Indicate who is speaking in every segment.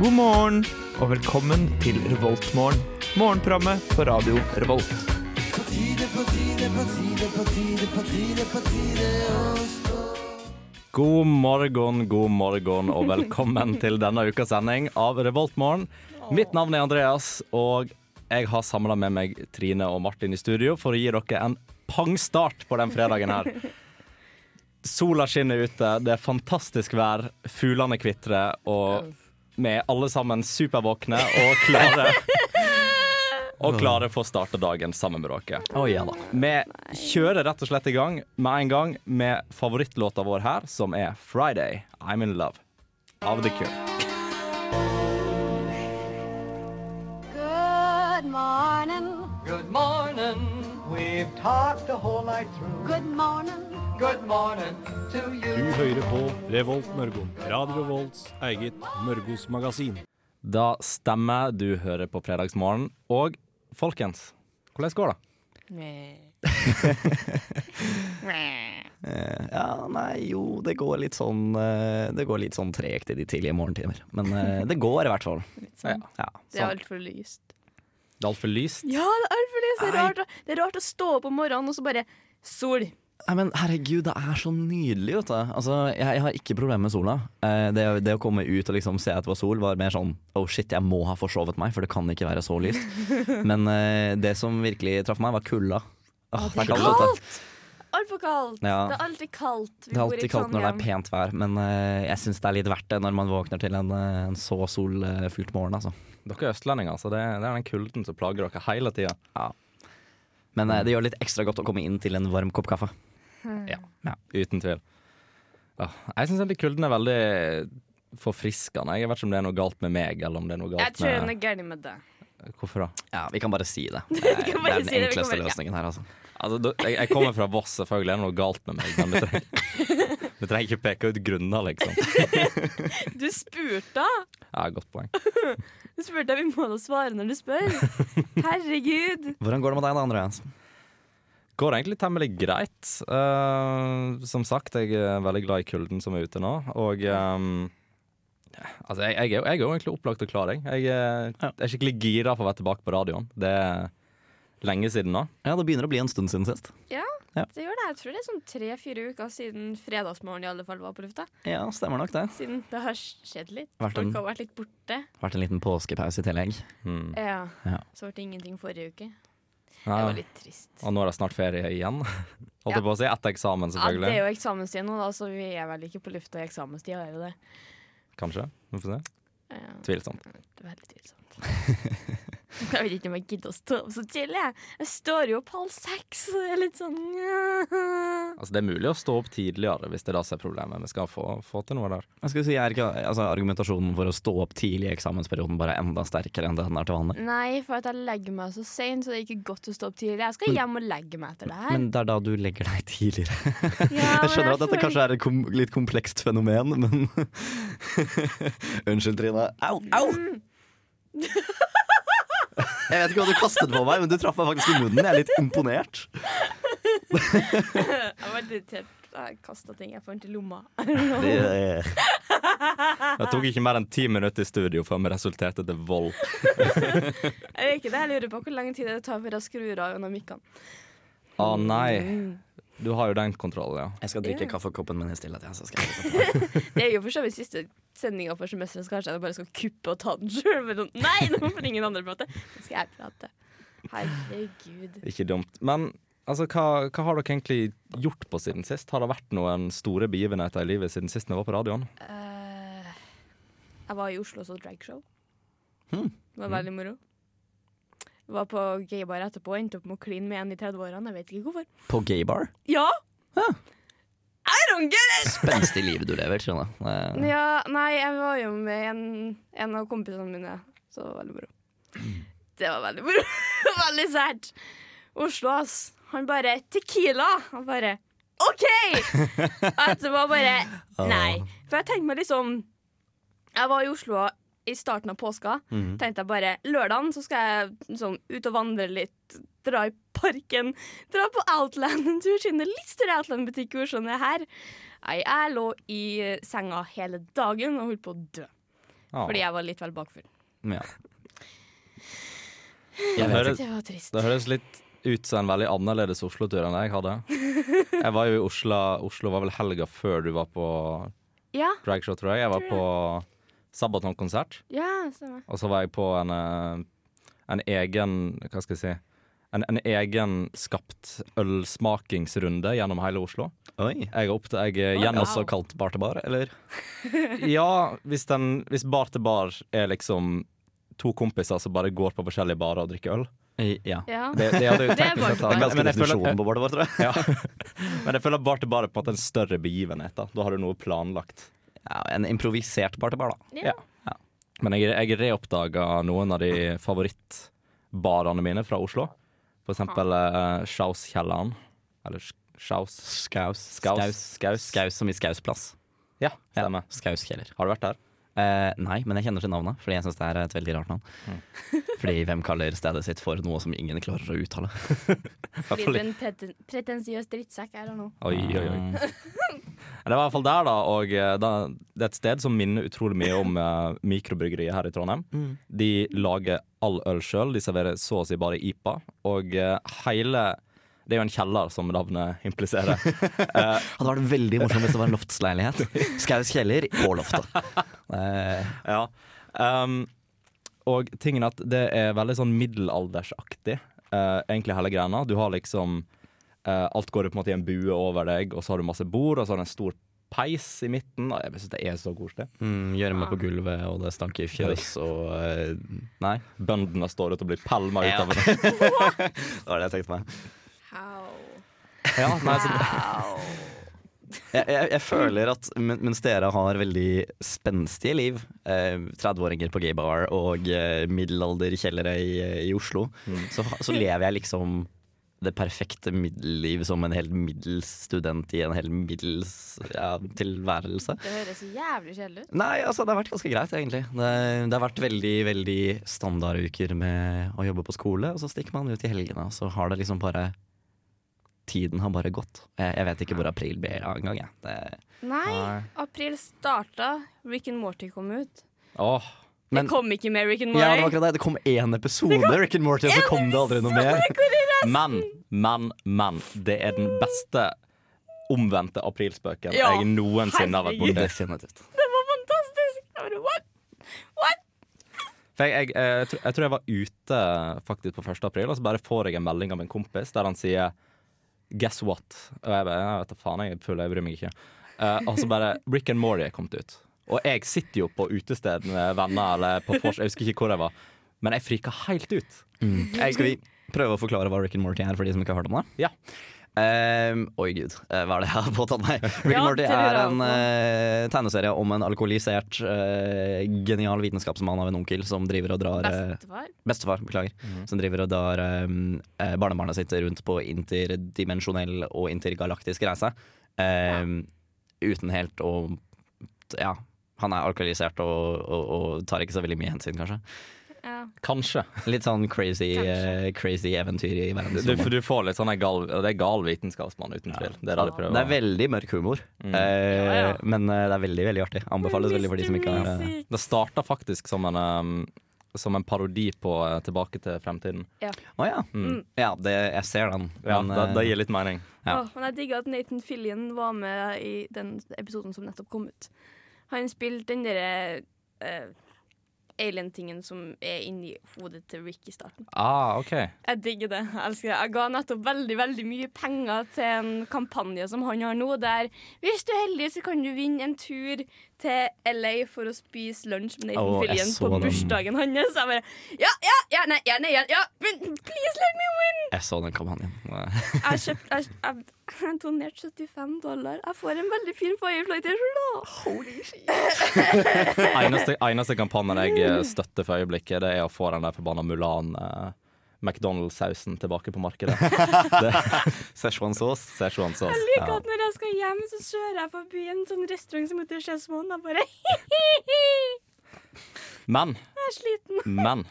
Speaker 1: morgen, og velkommen til Revoltmorgen. Morgenprogrammet på radio Revolt.
Speaker 2: God morgen, god morgen, og velkommen til denne ukas sending av Revoltmorgen. Mitt navn er Andreas, og jeg har samla med meg Trine og Martin i studio for å gi dere en pangstart på den fredagen her. Sola skinner ute, det er fantastisk vær, fuglene kvitrer, og vi er alle sammen supervåkne og klare. Og klare for å starte dagen sammen med dere. Vi kjører rett og slett i gang med en gang med favorittlåta vår her, som er 'Friday I'm In Love' av The Cure.
Speaker 3: Good morning.
Speaker 4: Good morning. We've talked the whole night through.
Speaker 3: Good morning.
Speaker 4: Good morning to
Speaker 5: Du
Speaker 4: you.
Speaker 5: hører på Revolt Mørgon. Radio Revolts eget Mørgos magasin.
Speaker 2: Da stemmer du hører på Fredagsmorgen. Og folkens, hvordan går det?
Speaker 6: Ja, nei, jo, det går litt sånn eh, Det går litt sånn tregt i de tidlige morgentimer. Men eh, det går i hvert fall. Ja,
Speaker 7: Det er altfor lyst.
Speaker 2: Det er altfor lyst.
Speaker 7: Ja, det er altfor lyst! Det er, rart, å- det er rart å stå opp om morgenen og så bare Sol!
Speaker 6: Nei, men herregud, det er så nydelig, vet du. Altså, jeg, jeg har ikke problemer med sola. Eh, det, det å komme ut og liksom se at det var sol, var mer sånn oh shit, jeg må ha forsovet meg, for det kan ikke være så lyst. Men eh, det som virkelig traff meg, var kulda. Åh, det er kaldt, vet du.
Speaker 7: Altfor kaldt!
Speaker 6: Ja.
Speaker 7: Det er alltid kaldt. Vi
Speaker 6: Det
Speaker 7: bor
Speaker 6: er
Speaker 7: i
Speaker 6: alltid kaldt når det er
Speaker 7: Trondheim.
Speaker 6: pent vær, men eh, jeg syns det er litt verdt det når man våkner til en, eh, en så solfylt morgen, altså.
Speaker 2: Dere er østlendinger, så det, det er den kulden som plager dere hele tida.
Speaker 6: Men eh, det gjør litt ekstra godt å komme inn til en varm kopp kaffe.
Speaker 7: Hmm.
Speaker 2: Uten tvil. Ja, jeg syns egentlig kulden er veldig forfriskende. Jeg vet ikke om det er noe galt med meg, eller om det er noe
Speaker 7: Jeg
Speaker 2: galt
Speaker 7: tror den
Speaker 2: med
Speaker 7: er gæren med det.
Speaker 2: Hvorfor da?
Speaker 6: Ja, vi kan bare si det. Det er, det
Speaker 7: kan
Speaker 6: er
Speaker 7: bare
Speaker 6: den
Speaker 7: si det, vi kan
Speaker 6: enkleste
Speaker 7: bare- ja.
Speaker 6: løsningen her, altså.
Speaker 2: Altså, da- jeg, jeg kommer fra Voss, selvfølgelig. Det er noe galt med meg. Men vi trenger, vi trenger ikke peke ut grunner, liksom.
Speaker 7: Du spurte!
Speaker 2: Ja, godt poeng.
Speaker 7: Du spurte, Vi må da svare når du spør. Herregud.
Speaker 6: Hvordan går det med deg, da, Andreas?
Speaker 2: Går egentlig temmelig greit. Eh, som sagt, jeg er veldig glad i kulden som er ute nå. Og ehm, altså, jeg, jeg, er jo, jeg er jo egentlig opplagt og klar, jeg. Jeg er, jeg er skikkelig gira for å være tilbake på radioen. Det er lenge siden nå.
Speaker 6: Ja, det begynner å bli en stund siden sist.
Speaker 7: Ja,
Speaker 6: Ja.
Speaker 7: det gjør det. Jeg tror det er sånn tre-fire uker siden fredagsmorgen i alle fall var på lufta.
Speaker 6: Ja, stemmer nok det.
Speaker 7: Siden det har skjedd litt.
Speaker 6: Vært en-
Speaker 7: Folk har vært litt borte.
Speaker 6: Vært en liten påskepause i tillegg.
Speaker 2: Mm.
Speaker 7: Ja.
Speaker 6: Ja. Ah,
Speaker 7: Så ble det ingenting forrige uke. Det
Speaker 2: Ja,
Speaker 7: var litt trist.
Speaker 2: og nå er det snart ferie igjen. Holdt
Speaker 7: Ja.
Speaker 2: jeg på å si. Etter eksamen,
Speaker 7: Ja, det
Speaker 2: selvfølgelig.
Speaker 7: er jo eksamenstid nå, da, så vi er vel ikke på lufta i eksamenstid, er vi det?
Speaker 2: Kanskje. Vi får se.
Speaker 7: Ja,
Speaker 2: Tvilsomt.
Speaker 7: det er veldig tvilsomt. Jeg vet ikke om jeg gidder å stå opp så tidlig. jeg. Jeg står jo opp halv seks, så det er litt sånn
Speaker 2: Altså, det er mulig å stå opp tidligere hvis det er det som er problemet. Vi skal få, få til noe der.
Speaker 6: Jeg skulle si, er ikke, altså, Argumentasjonen for å stå opp tidlig i eksamensperioden bare enda sterkere enn det den er til vanlig.
Speaker 7: Nei, for at jeg legger meg så seint, så det er ikke godt å stå opp tidlig. Jeg skal hjem og legge meg etter det her.
Speaker 6: Men det er da du legger deg tidligere.
Speaker 7: Ja,
Speaker 6: Jeg skjønner
Speaker 7: men
Speaker 6: at dette
Speaker 7: føler-
Speaker 6: kanskje er et kom, litt komplekst fenomen, men Unnskyld, Trine. Au, au! Jeg vet ikke hva du kastet på meg, men du traff meg faktisk i munnen. Jeg er litt imponert.
Speaker 7: Jeg var litt irritert. Jeg kasta ting jeg fant i lomma.
Speaker 6: Det,
Speaker 2: Det tok ikke mer enn ti minutter i studio før vi resulterte til vold.
Speaker 7: Jeg vet ikke det, jeg lurer på hvor lang tid det tar før jeg skrur av dynamikkene.
Speaker 2: Å nei. Du har jo den kontrollen, ja.
Speaker 6: Jeg skal drikke kaffekoppen min i stillhet. Ja, så skal jeg
Speaker 7: Det er jo for så vidt siste sendinga for semesteret, så kanskje jeg bare skal kuppe og ta den sjøl. Nei, nå får ingen andre prate. Nå skal jeg prate. Herregud.
Speaker 2: Ikke dumt. Men altså, hva, hva har dere egentlig gjort på siden sist? Har det vært noen store begivenheter i livet siden sist vi var på radioen?
Speaker 7: Eh, jeg var i Oslo og så dragshow. Det var veldig moro. Var på gaybar etterpå og endte opp med å kline med en i 30-årene. Jeg vet ikke hvorfor.
Speaker 6: På gaybar?
Speaker 7: Ja! I don't get it!
Speaker 6: Spenstig livet du lever, skjønner jeg.
Speaker 7: Ja, nei, jeg var jo med en, en av kompisene mine, så det var veldig moro. Det var veldig moro. veldig sært. Oslo, ass. Han bare Tequila! Han bare OK! At det var bare Nei. For jeg tenkte meg liksom Jeg var i Oslo i starten av påska. Tenkte jeg bare lørdagen så skal jeg liksom, ut og vandre litt, dra i parken, dra på Outland en tur, siden det er litt større Outland-butikk i Oslo enn det er her. Nei, jeg lå i senga eh, hele dagen og holdt på å dø
Speaker 2: Ja.
Speaker 6: Ah.
Speaker 7: fordi jeg var litt vel bakfull.
Speaker 6: Ja.
Speaker 2: Det høres,
Speaker 7: Det var trist.
Speaker 2: det høres litt ut som en veldig annerledes Oslo-tur enn jeg hadde. Jeg var jo i Oslo, Oslo var vel helga før du var på
Speaker 7: Ja,
Speaker 2: dragshow, tror jeg. Jeg var på Sabaton-konsert.
Speaker 7: ja, stemmer.
Speaker 2: Og så var jeg på en, eh, en egen Hva skal jeg si? En, en egen skapt ølsmakingsrunde gjennom hele Oslo.
Speaker 6: Oi.
Speaker 2: Jeg er opp til jeg er igjen
Speaker 7: wow.
Speaker 2: også kalt bar til bar, eller? ja, hvis, den, hvis bar til bar er liksom to kompiser som bare går på forskjellige barer og drikker øl.
Speaker 6: I- Ja.
Speaker 7: Ja.
Speaker 2: Det, det hadde jo
Speaker 7: Det er
Speaker 2: teknisk
Speaker 7: bar til
Speaker 2: sett
Speaker 7: bar.
Speaker 2: vært- men jeg føler-
Speaker 6: på bordet vårt, tror jeg.
Speaker 2: ja. Men jeg føler bar til bar er på en måte en større begivenhet. Da Da har du noe planlagt.
Speaker 6: Ja, en improvisert bar til bar, da.
Speaker 7: Ja.
Speaker 2: Men jeg, jeg reoppdaga noen av de favorittbarene mine fra Oslo. For eksempel eh, Sjaus-kjelleren. Eller Sj- Sjaus.
Speaker 6: Skaus.
Speaker 2: Skaus.
Speaker 6: Skaus. Skaus. Skaus som i Skausplass.
Speaker 2: Ja,
Speaker 6: Ja.
Speaker 2: stemmer.
Speaker 6: Skauskjeller.
Speaker 2: Har du vært der?
Speaker 6: Eh, nei, men jeg kjenner til navnet, fordi jeg syns det er et veldig rart navn.
Speaker 2: Mm.
Speaker 6: Fordi hvem kaller stedet sitt for noe som ingen klarer å uttale?
Speaker 7: Blir du en preten pretensiøs drittsekk eller noe?
Speaker 2: Oi, oi, oi.
Speaker 6: Mm.
Speaker 2: Men Det var i hvert fall der, da. Og eh, da, det er et sted som minner utrolig mye om eh, mikrobryggeriet her i Trondheim.
Speaker 6: Mm.
Speaker 2: De lager all øl sjøl. De serverer så å si bare IPA. Og eh, hele Det er jo en kjeller, som navnet impliserer.
Speaker 6: Hadde vært veldig morsomt hvis det var en loftsleilighet. Skaus kjeller på loftet. Eh,
Speaker 2: ja. Um, og tingen er at det er veldig sånn middelaldersaktig, eh, egentlig hele greia. Du har liksom eh, Alt går på en måte i en bue over deg, og så har du masse bord, og så har du en stor peis i midten. Og jeg synes det er så koselig.
Speaker 6: mm, Gjørme på gulvet, og det stank i fjøs, og eh, Nei.
Speaker 2: Bøndene står ute og blir pælma
Speaker 6: Ja.
Speaker 2: utover. det.
Speaker 6: Det var det jeg tenkte meg.
Speaker 7: How?
Speaker 2: ja, nei, så,
Speaker 6: Jeg, jeg, jeg føler at men- mens dere har veldig spenstige liv, eh, 30-åringer på gaybar og eh, middelalderkjellere i, i Oslo, så, så lever jeg liksom det perfekte middelliv som en helt middels student i en helt middels ja, tilværelse.
Speaker 7: Det høres jævlig kjedelig ut.
Speaker 6: Nei, altså det har vært ganske greit, egentlig. Det, det har vært veldig veldig standarduker med å jobbe på skole, og så stikker man ut i helgene, og så har det liksom bare Tiden har bare gått. Jeg, jeg vet ikke hvor april ble av engang, jeg. Det,
Speaker 7: Nei, april starta. Rick and Morty kom ut.
Speaker 2: Åh,
Speaker 6: Men-
Speaker 7: det kom ikke med Rick and
Speaker 6: ja, det var
Speaker 7: Morty.
Speaker 6: akkurat det. Det kom én episode, Rick and Morty, og så kom det aldri noe mer.
Speaker 2: men, men, men. Det er den beste omvendte aprilspøken
Speaker 7: Ja,
Speaker 2: jeg noensinne har vært borti.
Speaker 6: Definitivt.
Speaker 7: Det var fantastisk! Jeg bare, what? What?
Speaker 2: For jeg, jeg, jeg, tr- jeg tror jeg var ute faktisk på 1. april, og så bare får jeg en melding av en kompis der han sier 'guess what'? Og jeg bare jeg vet da faen, jeg er full, jeg bryr meg ikke. Eh, og så bare Rick and Morty er kommet ut. Og jeg sitter jo på utested med venner eller på vors, jeg husker ikke hvor jeg var. Men jeg frika helt ut.
Speaker 6: Jeg, skal vi prøve å forklare hva Rick and Morty er for de som ikke har hørt om det?
Speaker 2: Ja.
Speaker 6: Ehm, oi, gud. Eh, hva er det jeg har påtatt meg? Rick
Speaker 7: Ja,
Speaker 6: and Morty
Speaker 7: det lurer
Speaker 6: er
Speaker 7: jeg
Speaker 6: en eh, tegneserie om en alkoholisert, eh, genial vitenskapsmann av en onkel som driver og drar eh,
Speaker 7: Bestefar?
Speaker 6: Bestefar, beklager.
Speaker 2: Mhm.
Speaker 6: Som driver og drar ehm, eh, barnebarnet sitt rundt på interdimensjonell og intergalaktisk reise. Ehm, Uten helt å Ja. Han er alkoholisert og, og, og tar ikke så veldig mye hensyn, kanskje.
Speaker 7: Ja.
Speaker 2: Kanskje.
Speaker 6: Litt sånn crazy, eh, crazy eventyr i verdensrommet.
Speaker 2: Du, du får litt sånn en gal, Det er gal vitenskapsmann, uten tvil. Det er det de prøver. Mm.
Speaker 6: Det er veldig mørk humor, eh,
Speaker 7: Ja, ja.
Speaker 6: men eh, det er veldig veldig artig. Anbefales veldig for de som ikke har eh,
Speaker 2: Det starta faktisk som en, um, som en parodi på eh, 'Tilbake til fremtiden'.
Speaker 6: Å ja. ja det, jeg ser den.
Speaker 2: Mm. Ja,
Speaker 6: men,
Speaker 2: det,
Speaker 6: eh,
Speaker 2: det gir litt mening.
Speaker 6: Ja.
Speaker 7: Åh, men jeg digger at Nathan Fillion var med i den episoden som nettopp kom ut. Han spilte den derre eh, alien-tingen som er inni hodet til Rick i starten.
Speaker 2: Ah, ok
Speaker 7: Jeg digger det. Jeg elsker det. Jeg ga nettopp veldig veldig mye penger til en kampanje som han har nå, der hvis du er heldig, så kan du vinne en tur til LA for å spise lunsj med Nathan
Speaker 6: Åh, jeg
Speaker 7: Fillion
Speaker 6: så
Speaker 7: på
Speaker 6: den.
Speaker 7: bursdagen hans. Jeg bare Ja, ja, ja, nei, ja, nei, ja, ja, men please let me win!
Speaker 6: Jeg så den kampanjen.
Speaker 7: Jeg kjøpt, jeg, jeg, jeg donerte 75 dollar. Jeg får en veldig fin Firefly-T-skjorte. Holy shit.
Speaker 2: Eneste, eneste kampanjen jeg eh, støtter for øyeblikket, det er å få den der forbanna Mulan eh, McDonald's-sausen tilbake på markedet.
Speaker 6: Szechuan sauce.
Speaker 2: Szechuan sauce.
Speaker 7: Jeg liker at når jeg skal hjem, så kjører jeg forbi en sånn restaurant som heter Chesmon. Jeg bare Jeg
Speaker 2: Men,
Speaker 7: er sliten.
Speaker 2: men.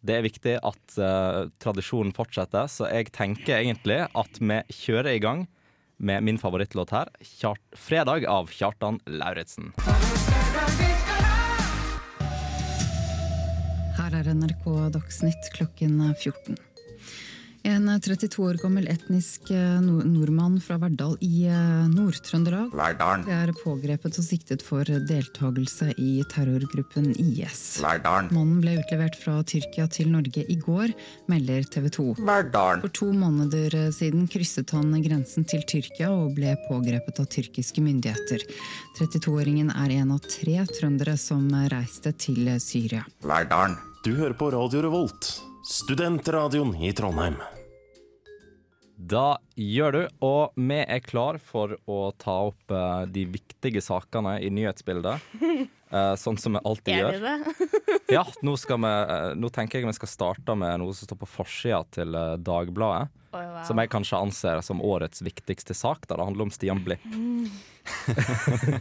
Speaker 2: Det er viktig at eh, tradisjonen fortsetter, så jeg tenker egentlig at vi kjører i gang med min favorittlåt her, Kjart 'Fredag' av Kjartan Lauritzen.
Speaker 8: Her er NRK Dagsnytt klokken 14. En 32 år gammel etnisk eh, nor- nordmann fra Verdal i eh, Nord-Trøndelag er pågrepet og siktet for deltakelse i terrorgruppen IS. Mannen ble utlevert fra Tyrkia til Norge i går, melder TV 2. For to måneder siden krysset han grensen til Tyrkia og ble pågrepet av tyrkiske myndigheter. 32-åringen er en av tre trøndere som reiste til Syria.
Speaker 9: Du hører på Radio Revolt, studentradioen i Trondheim.
Speaker 2: Da gjør du, og vi er klar for å ta opp eh, de viktige sakene i nyhetsbildet. eh, sånn som vi alltid
Speaker 7: Er
Speaker 2: gjør.
Speaker 7: vi det?
Speaker 2: Ja, nå, skal vi, eh, nå tenker jeg vi skal starte med noe som står på forsida til eh, Dagbladet.
Speaker 7: Oi, wow.
Speaker 2: Som jeg kanskje anser som årets viktigste sak, da det handler om Stian Blipp.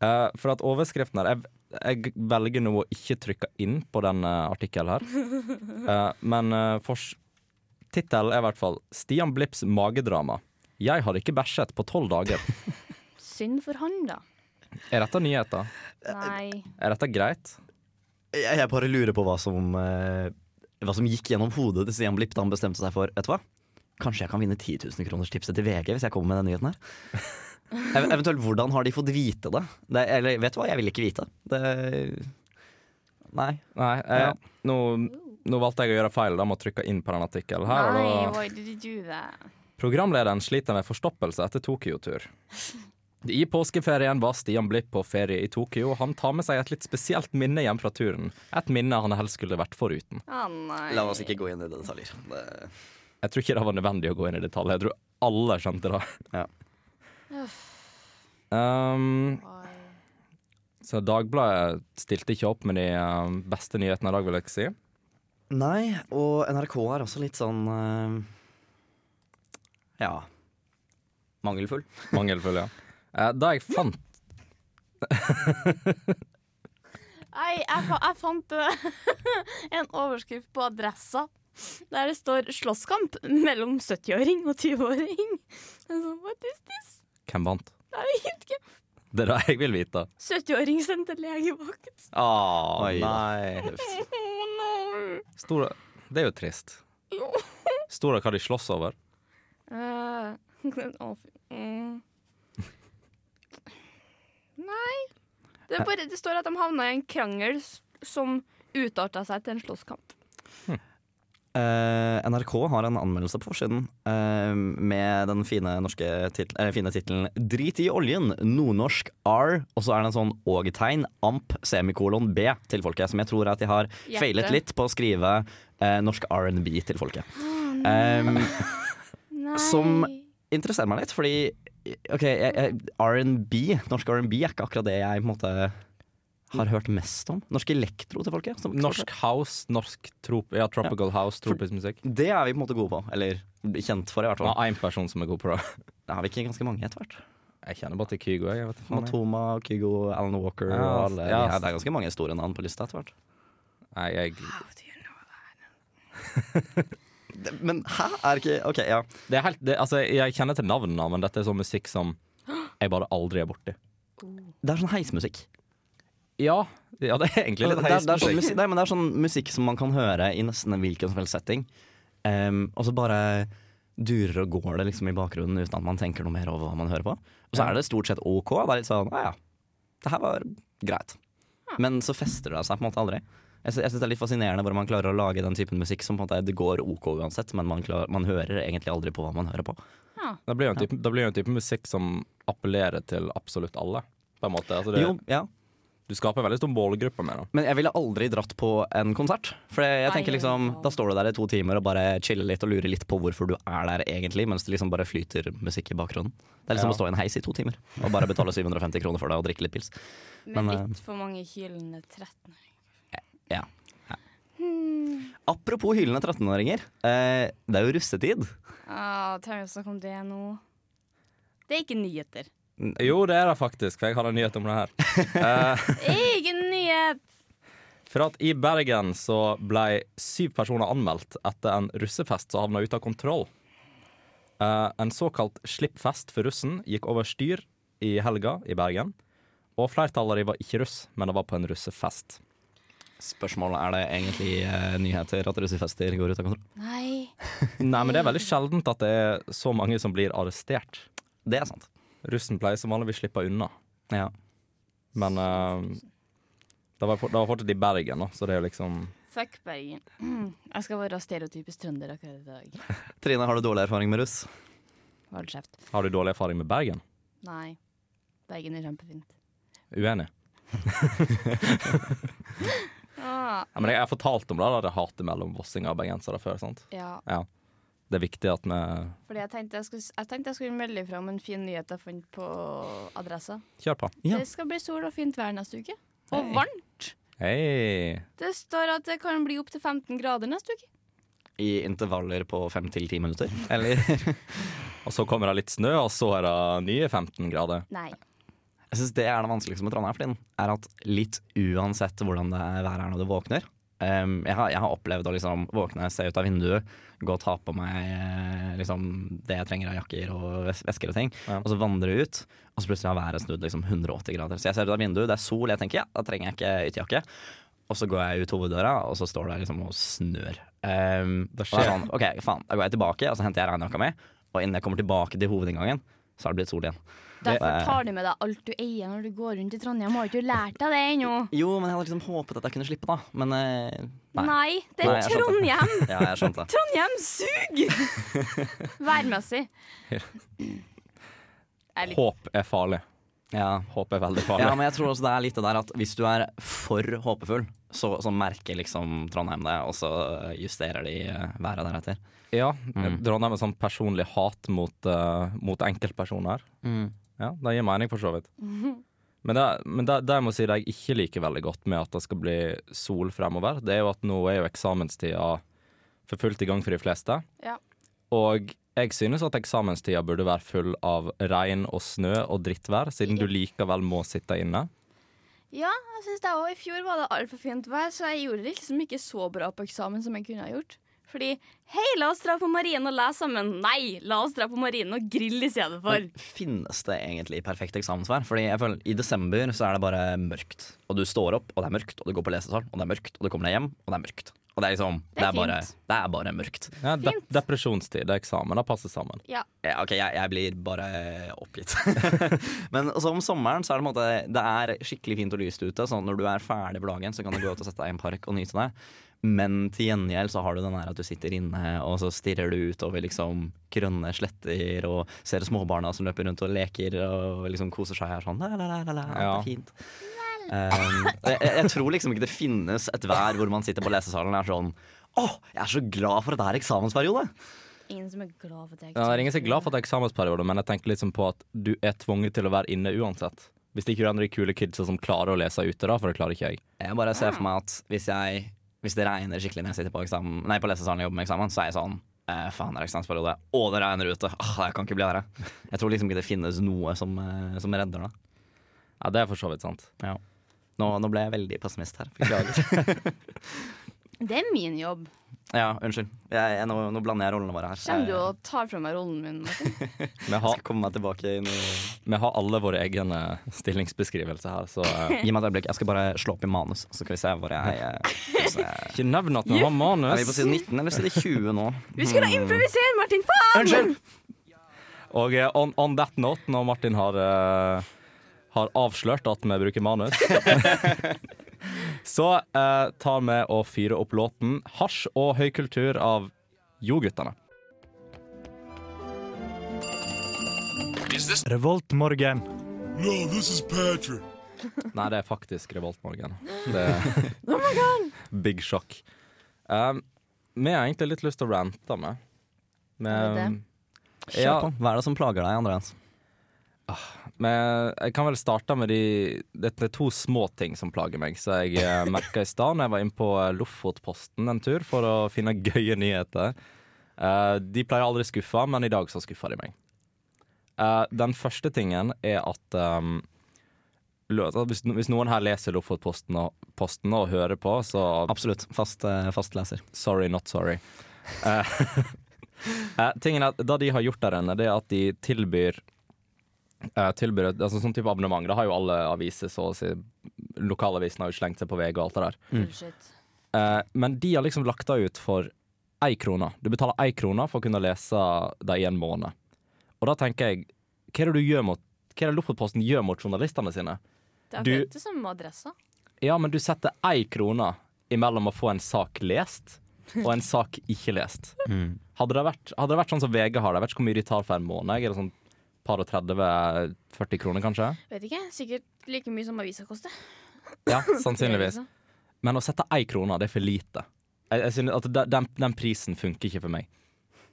Speaker 2: Eh, for at overskriften her jeg, jeg velger nå å ikke trykke inn på den eh, artikkelen her. Eh, men uh, fors... Tittelen er i hvert fall 'Stian Blipps magedrama'. Jeg har ikke bæsjet på tolv dager.
Speaker 7: Synd for han, da.
Speaker 2: Er dette nyheter?
Speaker 7: Eh, Nei.
Speaker 2: Er dette greit?
Speaker 6: Jeg, jeg bare lurer på hva som, eh, hva som gikk gjennom hodet til Stian Blipp da han bestemte seg for Vet du hva? Kanskje jeg kan vinne 10 000 kroners tipset til VG hvis jeg kommer med den nyheten her? Ev eventuelt hvordan har de fått vite det? det eller vet du hva, jeg vil ikke vite. Det Nei.
Speaker 2: Nei, jeg,
Speaker 6: Ja.
Speaker 2: nå, nå valgte jeg å gjøre feil. Da må jeg trykke inn på den artikkelen her. og
Speaker 7: Nei,
Speaker 2: da-
Speaker 7: why did you do that?
Speaker 2: Programlederen sliter med forstoppelse etter Tokyo-tur. I påskeferien var Stian Blipp på ferie i Tokyo, og han tar med seg et litt spesielt minne hjem fra turen. Et minne han helst skulle vært foruten.
Speaker 7: Å nei.
Speaker 6: La oss ikke gå inn i detaljer. Det,
Speaker 2: Jeg tror ikke det var nødvendig å gå inn i detalj. Jeg tror alle skjønte det.
Speaker 6: Ja.
Speaker 2: Um,
Speaker 7: Oi.
Speaker 2: så Dagbladet stilte ikke opp med de um, beste nyhetene i dag, vil jeg si.
Speaker 6: nei, og NRK er også litt sånn eh, Ja. Mangelfull.
Speaker 2: Mangelfulle, ja. Eh, Da jeg fant
Speaker 7: Nei, jeg, fa jeg fant eh, en overskrift på adressa der det står 'slåsskamp mellom 70-åring og 20-åring'. Jeg er sånn, What is this?
Speaker 2: Hvem vant?
Speaker 7: Jeg vet ikke.
Speaker 2: Det er det jeg vil vite.
Speaker 7: 70-åring sendte legevakt.
Speaker 2: Ah,
Speaker 6: Oi da.
Speaker 2: nei.
Speaker 7: Oh no!
Speaker 2: Stora, det er jo trist.
Speaker 7: Jo.
Speaker 2: Stora hva de slåss over.
Speaker 7: Eh, å, fy- mm. Nei. Det, er bare, det står at de havna i en krangel s- som utarta seg til en slåsskamp.
Speaker 6: Eh, NRK har en anmeldelse på forsiden eh, med den fine norske tit eh, fine tittelen 'Drit i oljen', nordnorsk R, og så er det en sånn og-tegn, amp, semikolon B til folket, som jeg tror er at de har
Speaker 7: Hjerte.
Speaker 6: feilet litt på å skrive eh, norsk R&B til folket. Em,
Speaker 7: Nei.
Speaker 6: Som- interesserer meg litt, fordi ok, jeg- jeg- R&B, norsk R&B er ikke akkurat det jeg på en måte har hørt mest om. Norsk elektro til folket. som-
Speaker 2: Norsk house, norsk trop, ja, tropical house, tropisk musikk.
Speaker 6: Det er vi på en måte gode på, eller kjent for i hvert
Speaker 2: Det
Speaker 6: fall.
Speaker 2: var én person som er god på det.
Speaker 6: Det har vi ikke ganske mange etter hvert.
Speaker 2: Jeg kjenner bare til Kygo. Jeg, jeg vet faen, jeg.
Speaker 6: Matoma, Kygo, Alan Walker
Speaker 2: Ja,
Speaker 6: og alle
Speaker 2: ja.
Speaker 6: de her. Det er ganske mange store navn på lista etter hvert.
Speaker 2: Nei, jeg,
Speaker 6: Men hæ? Er ikke Ok, ja.
Speaker 2: det er helt, det, altså, jeg kjenner til navnene, men dette er sånn musikk som jeg bare aldri er borti.
Speaker 6: Det er sånn heismusikk.
Speaker 2: Ja, ja det er egentlig
Speaker 6: Det,
Speaker 2: litt
Speaker 6: det, er, det, er sånn
Speaker 2: heismusikk.
Speaker 6: musikk nei, men det er sånn musikk som man kan høre i nesten en hvilken som helst setting. Em, og så bare durer og går det liksom i bakgrunnen uten at man tenker noe mer over hva man hører på. Og så er det stort sett OK. Det er litt sånn ja ja, det her var greit. Men så fester det seg på en måte aldri. Jeg sy- jeg syns det er litt fascinerende hvordan man klarer å lage den typen musikk som på en måte det går OK uansett, men man, klarer, man hører egentlig aldri på hva man hører på.
Speaker 2: Det blir jo en type, det blir jo en type musikk som appellerer til absolutt alle. På en måte. Altså, det,
Speaker 6: Jo, ja.
Speaker 2: du skaper en veldig stor målgruppe med det.
Speaker 6: Men jeg ville aldri dratt på en konsert. For jeg tenker
Speaker 7: Nei,
Speaker 6: liksom,
Speaker 7: ja.
Speaker 6: Da står du der i to timer og bare chiller litt og lurer litt på hvorfor du er der egentlig, mens det liksom bare flyter musikk i bakgrunnen. Det er liksom
Speaker 2: Ja.
Speaker 6: å stå i en heis i to timer og bare betale 750 kroner for det og drikke litt pils.
Speaker 7: Med
Speaker 6: Men, eh,
Speaker 7: litt for mange hylende 13
Speaker 6: Ja.
Speaker 7: Hmm.
Speaker 6: Apropos hylende 13-åringer. Eh, det er jo russetid.
Speaker 7: Ah, trenger vi å snakke om det nå? Det er ikke nyheter.
Speaker 2: Jo, det er det faktisk, for jeg har en nyhet om det her.
Speaker 7: Egen nyhet!
Speaker 2: For at i Bergen så ble syv personer anmeldt etter en russefest som havna ute av kontroll. Eh, en såkalt slippfest for russen gikk over styr i helga i Bergen. Og flertallet av de var ikke russ, men det var på en russefest.
Speaker 6: Spørsmålet er det egentlig eh, nyheter at russefester går ut av kontroll?
Speaker 7: Nei.
Speaker 2: Nei, men det er veldig sjeldent at det er så mange som blir arrestert.
Speaker 6: Det er sant.
Speaker 2: Russen pleier som vanlig å slippe unna,
Speaker 6: Ja.
Speaker 2: men eh, det var, for- det var fortsatt i Bergen, da, så det er jo liksom
Speaker 7: Fuck Bergen. Jeg skal være stereotypisk trønder akkurat i dag.
Speaker 6: Trine, har du dårlig erfaring med russ?
Speaker 7: Hold kjeft.
Speaker 2: Har du dårlig erfaring med Bergen?
Speaker 7: Nei. Bergen er kjempefint.
Speaker 2: Uenig.
Speaker 7: Ah.
Speaker 2: Ja, men jeg, jeg fortalte om det, da, det hatet mellom vossinger og bergensere før. sant?
Speaker 7: Ja,
Speaker 2: Ja. Det er viktig at vi
Speaker 7: fordi jeg tenkte jeg skulle, jeg tenkte jeg skulle melde ifra om en fin nyhet jeg fant på adressa.
Speaker 2: kjører på.
Speaker 6: Ja.
Speaker 7: Det skal bli sol og fint vær neste uke. Og varmt.
Speaker 2: Hei!
Speaker 7: Det står at det kan bli opptil 15 grader neste uke.
Speaker 6: I intervaller på fem til ti minutter?
Speaker 2: Eller Og så kommer det litt snø, og så er det nye 15 grader.
Speaker 7: Nei.
Speaker 6: Jeg synes det er det vanskeligste med Trondheim, Flinn. Er at litt uansett hvordan det er været er når du våkner em, jeg, har, jeg har opplevd å liksom våkne, se ut av vinduet, gå og ta på meg eh, liksom, det jeg trenger av jakker og ves- vesker og ting.
Speaker 2: Ja.
Speaker 6: Og så vandre ut, og så plutselig har været snudd liksom 180 grader. Så jeg ser ut av vinduet, det er sol, jeg tenker ja, da trenger jeg ikke ytterjakke. Og så går jeg ut hoveddøra, og så står det liksom og snør. Em,
Speaker 2: Det
Speaker 6: og det er
Speaker 2: skjer.
Speaker 6: sånn, ok, faen, da går jeg tilbake, og så henter jeg regnjakka mi. Og innen jeg kommer tilbake til hovedinngangen, så har det blitt sol igjen.
Speaker 7: Derfor tar du med deg alt du eier når du går rundt i Trondheim. Har ikke du lært deg det ennå?
Speaker 6: Jo, men jeg hadde liksom håpet at jeg kunne slippe, da. Men eh, nei.
Speaker 7: Nei, det
Speaker 6: Nei,
Speaker 7: er
Speaker 6: jeg skjønte.
Speaker 7: Trondheim!
Speaker 6: Ja, jeg skjønte.
Speaker 7: Trondheim suger! Værmessig. Jeg liker
Speaker 2: Håp er farlig.
Speaker 6: Ja.
Speaker 2: Håp er veldig farlig.
Speaker 6: ja, men jeg tror også det er litt det der at hvis du er for håpefull, så, så merker liksom Trondheim det, og så justerer de eh, været deretter.
Speaker 2: Ja, Trondheim er sånn personlig hat mot, eh, mot enkeltpersoner. Ja, det gir mening, for så vidt. Men, det, men det, det jeg må si det jeg ikke liker veldig godt med at det skal bli sol fremover, det er jo at nå er jo eksamenstida for fullt i gang for de fleste.
Speaker 7: Ja.
Speaker 2: Og jeg synes at eksamenstida burde være full av regn og snø og drittvær, siden du likevel må sitte inne.
Speaker 7: Ja, jeg synes det også. I fjor var det altfor fint vær, så jeg gjorde det liksom ikke så bra på eksamen som jeg kunne ha gjort. Fordi hei, la oss dra på marinen og lese sammen. Nei, la oss dra på marinen og grille i stedet for.
Speaker 6: Men finnes det egentlig perfekt eksamensvær? Fordi jeg føler i desember så er det bare mørkt. Og du står opp, og det er mørkt, og du går på lesesal, og det er mørkt, og du kommer deg hjem, og det er mørkt. Og det er liksom Det er, bare,
Speaker 7: fint.
Speaker 6: det er bare mørkt.
Speaker 2: Ja, de,
Speaker 7: Fint.
Speaker 2: depresjonstid og eksamen, det passer sammen.
Speaker 7: Ja,
Speaker 6: Ja, ok, jeg, jeg blir bare eh, oppgitt. Men altså, om sommeren så er det, på en måte, det er skikkelig fint og lyst ute. Sånn at når du er ferdig på dagen, så kan du gå ut og sette deg i en park og nyte det. Men til gjengjeld så har du den der at du sitter inne og så stirrer du utover liksom grønne sletter og ser småbarna som løper rundt og leker og liksom koser seg her sånn la, la, la, la, la, det
Speaker 2: Ja.
Speaker 6: er fint. Um, jeg, jeg- jeg tror liksom ikke det finnes et vær hvor man sitter på lesesalen og er sånn Å, jeg er så glad for at det er eksamensperiode!
Speaker 7: ingen som er glad for det.
Speaker 2: Ja, det er ingen som er glad for at det er eksamensperiode, men jeg tenker liksom på at du er tvunget til å være inne uansett. Hvis ikke du er en av de kule kidsa som klarer å lese ute, da, for det klarer ikke jeg.
Speaker 6: Jeg bare ser for meg at hvis, jeg, hvis det regner skikkelig når jeg sitter på, eksamen, nei, på lesesalen og jobber med eksamen, så er jeg sånn eh, Faen, det er eksamensperiode. Og det regner ute. Ah, jeg kan ikke bli her. jeg. Jeg tror liksom ikke det finnes noe som, eh, som redder det.
Speaker 2: Ja, det er for så vidt sant.
Speaker 6: Nå, nå ble jeg veldig pessimist her. Beklager.
Speaker 7: Det er min jobb.
Speaker 6: ja, unnskyld. Jeg, jeg, nå, nå blander jeg rollene våre her.
Speaker 7: Kjem
Speaker 2: Eh.
Speaker 7: du
Speaker 6: Jeg-
Speaker 7: og tar fra meg rollen min, Martin?
Speaker 2: Vi
Speaker 6: jeg
Speaker 2: har,
Speaker 6: skal komme meg tilbake inn i
Speaker 2: vi har alle våre egne stillingsbeskrivelser her, så eh,
Speaker 6: Gi meg et øyeblikk. Jeg skal bare slå opp i manus, så skal vi se hvor jeg eh, så jeg-
Speaker 2: Ikke nevn at vi har
Speaker 6: Er vi på
Speaker 2: manus!
Speaker 6: side 19 eller side 20 nå?
Speaker 7: Vi skulle
Speaker 2: Mm.
Speaker 7: da improvisere, Martin! Faen!
Speaker 6: Unnskyld!
Speaker 2: Og eh, on, on that note, når Martin har, eh, har avslørt at vi bruker manus, så eh, tar vi og fyrer opp låten 'Hasj og høykultur' av Jo-guttene.
Speaker 1: Revoltmorgen.
Speaker 2: Nei, det er faktisk Revoltmorgen. Det
Speaker 7: Oh
Speaker 2: Big shock. Um, vi har egentlig litt lyst til å rante med. um,
Speaker 7: Er det det?
Speaker 2: ja, Ah,
Speaker 6: Kjør på. Hva er det som plager deg, Andreas?
Speaker 2: Men jeg kan vel starte med de Det er to små ting som plager meg, så jeg eh, merka i stad når jeg var inne på eh, Lofotposten en tur for å finne gøye nyheter. Eh, de pleier aldri å skuffe, men i dag så skuffa de meg. Eh, den første tingen er at um, lø- at hvis, hvis noen her leser Lofotposten og, posten og hører på, så
Speaker 6: Absolutt. Fast, eh, fast leser.
Speaker 2: Sorry, not sorry. Eh, eh, tingen er at Det de har gjort der inne, det er at de tilbyr, eh, tilbyr et- altså, Sånn type abonnement. Det har jo alle aviser så å si lokalavisen har jo slengt seg på VG og alt det der.
Speaker 7: Bullshit.
Speaker 2: Eh, men de har liksom lagt det ut for ei krone. Du betaler ei krone for å kunne lese det i en måned. Og da tenker jeg, hva er det du gjør mot hva er det Lofotposten gjør mot journalistene sine?
Speaker 7: Det er
Speaker 2: Du-
Speaker 7: fint det som adressa.
Speaker 2: Ja, men du setter ei krone imellom å få en sak lest og en sak ikke lest. Hadde, det vært, hadde det vært sånn som VG har det, jeg vet ikke hvor mye de tar for en måned, er det sånn par og 30-40 kroner kanskje?
Speaker 7: Vet ikke. Sikkert like mye som avisa koster.
Speaker 2: Ja, sannsynligvis. Men å sette ei krone, det er for lite. Jeg, jeg synes at de- den, den prisen funker ikke for meg.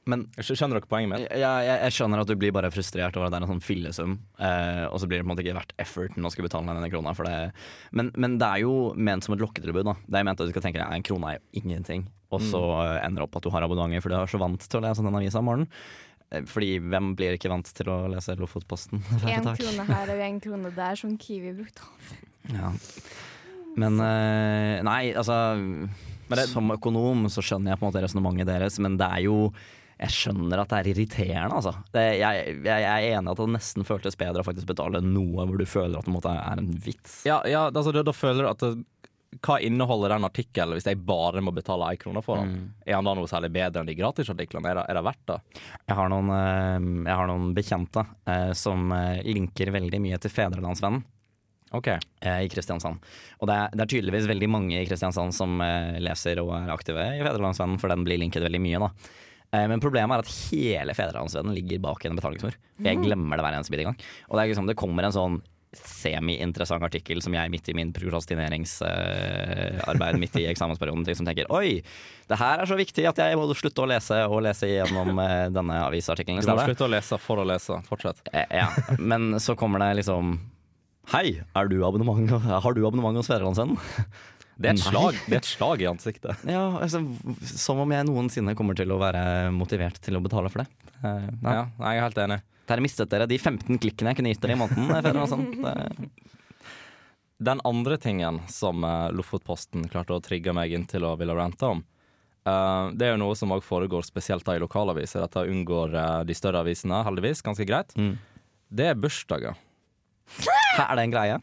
Speaker 6: Men
Speaker 2: Skj- Skjønner dere poenget mitt?
Speaker 6: jeg, jeg, jeg skjønner at du blir bare frustrert over at det er en sånn fillesum, eh, og så blir det på en måte ikke verdt efforten å skulle betale denne krona. For det. Men, men det er jo ment som et lokketilbud. Da. Det er ment at du skal tenke at en krone er jo ingenting, og så eh, ender det opp at du har abonnementer, for du er så vant til å lese den avisa om morgenen. Eh, Fordi hvem blir ikke vant til å lese Lofotposten?
Speaker 7: Én
Speaker 6: Takk.
Speaker 7: krone her og én krone der som Kiwi brukte.
Speaker 6: Ja. Men eh, Nei, altså Som økonom så skjønner jeg på en måte resonnementet deres, men det er jo jeg skjønner at det er irriterende, altså. Det, jeg, jeg, jeg er enig i at det nesten føltes bedre å faktisk betale noe hvor du føler at det på en måte er en vits.
Speaker 2: Ja, ja altså, da, da føler du at det, Hva inneholder den artikkelen hvis jeg bare må betale ei krone for den? Er den da noe særlig bedre enn de gratisartiklene? Er, det- er det verdt det?
Speaker 6: Jeg har noen, eh, jeg har noen bekjente eh, som eh, linker veldig mye til Fedrelandsvennen.
Speaker 2: OK.
Speaker 6: eh, i Kristiansand. Og det er, det er tydeligvis veldig mange i Kristiansand som eh, leser og er aktive i Fedrelandsvennen, for den blir linket veldig mye, da. Eh, men problemet er at hele Fedrelandsvennen ligger bak en betalingsmur. Jeg
Speaker 2: Mm.
Speaker 6: glemmer det hver eneste bidige gang. Og det er liksom, det kommer en sånn semi-interessant artikkel som jeg midt i min prokrastineringsarbeid midt i eksamensperioden liksom tenker oi, det her er så viktig at jeg må slutte å lese og lese gjennom eh, denne avisartikkelen. i
Speaker 2: Du må
Speaker 6: stedet.
Speaker 2: slutte å lese for å lese. Fortsett.
Speaker 6: Eh, Ja, men så kommer det liksom Hei, er du abonnement, har du abonnement hos Fedrelandsvennen?
Speaker 2: Det er et
Speaker 6: Nei.
Speaker 2: slag, det er et slag i ansiktet.
Speaker 6: Ja, altså, som om jeg noensinne kommer til å være motivert til å betale for det. Eh, nei.
Speaker 2: Ja, nei, jeg er helt enig.
Speaker 6: Der mistet dere de 15 klikkene jeg kunne gitt dere i måneden. eh, Fedrelandsvennen. Det-
Speaker 2: Den andre tingen som eh, Lofotposten klarte å trigge meg inn til å ville rante om, eh, det er jo noe som også foregår spesielt da i lokalaviser. Dette unngår eh, de større avisene, heldigvis, ganske greit. Det er bursdager.
Speaker 6: Hæ, Er det en greie?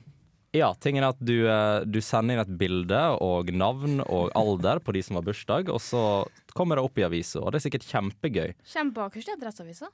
Speaker 2: Ja, tingen er at du, eh, du sender inn et bilde og navn og alder på de som har bursdag, og så kommer det opp i avisa, og det er sikkert kjempegøy.
Speaker 7: Kommer bakerst i Adresseavisa.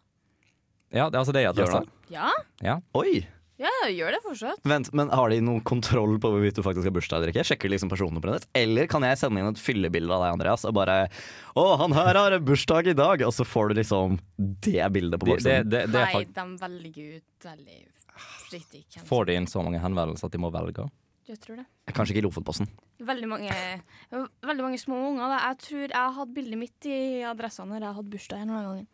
Speaker 2: Ja, det, altså det er
Speaker 6: Gjør
Speaker 2: adressa.
Speaker 6: det?
Speaker 7: Ja.
Speaker 6: Oi!
Speaker 7: ja, ja, gjør det fortsatt.
Speaker 6: Vent, men Har de noen kontroll på hvorvidt du faktisk har bursdag eller ikke? Sjekker de liksom personene på nett? Eller kan jeg sende inn et fyllebilde av deg, Andreas, og bare 'Å, han her har bursdag i dag', og så får du liksom det bildet på
Speaker 2: Det, det,
Speaker 6: baksiden?
Speaker 2: det, det er
Speaker 7: Nei,
Speaker 2: fakt-
Speaker 7: de velger ut veldig forsiktig. hvem som-
Speaker 2: Får de inn så mange henvendelser at de må velge?
Speaker 7: Jeg tror det.
Speaker 6: Kanskje ikke i Lofotposten.
Speaker 7: Veldig mange, veldig mange små unger. Da. Jeg tror jeg hadde bildet mitt i adressa når jeg hadde bursdag en eller annen gang.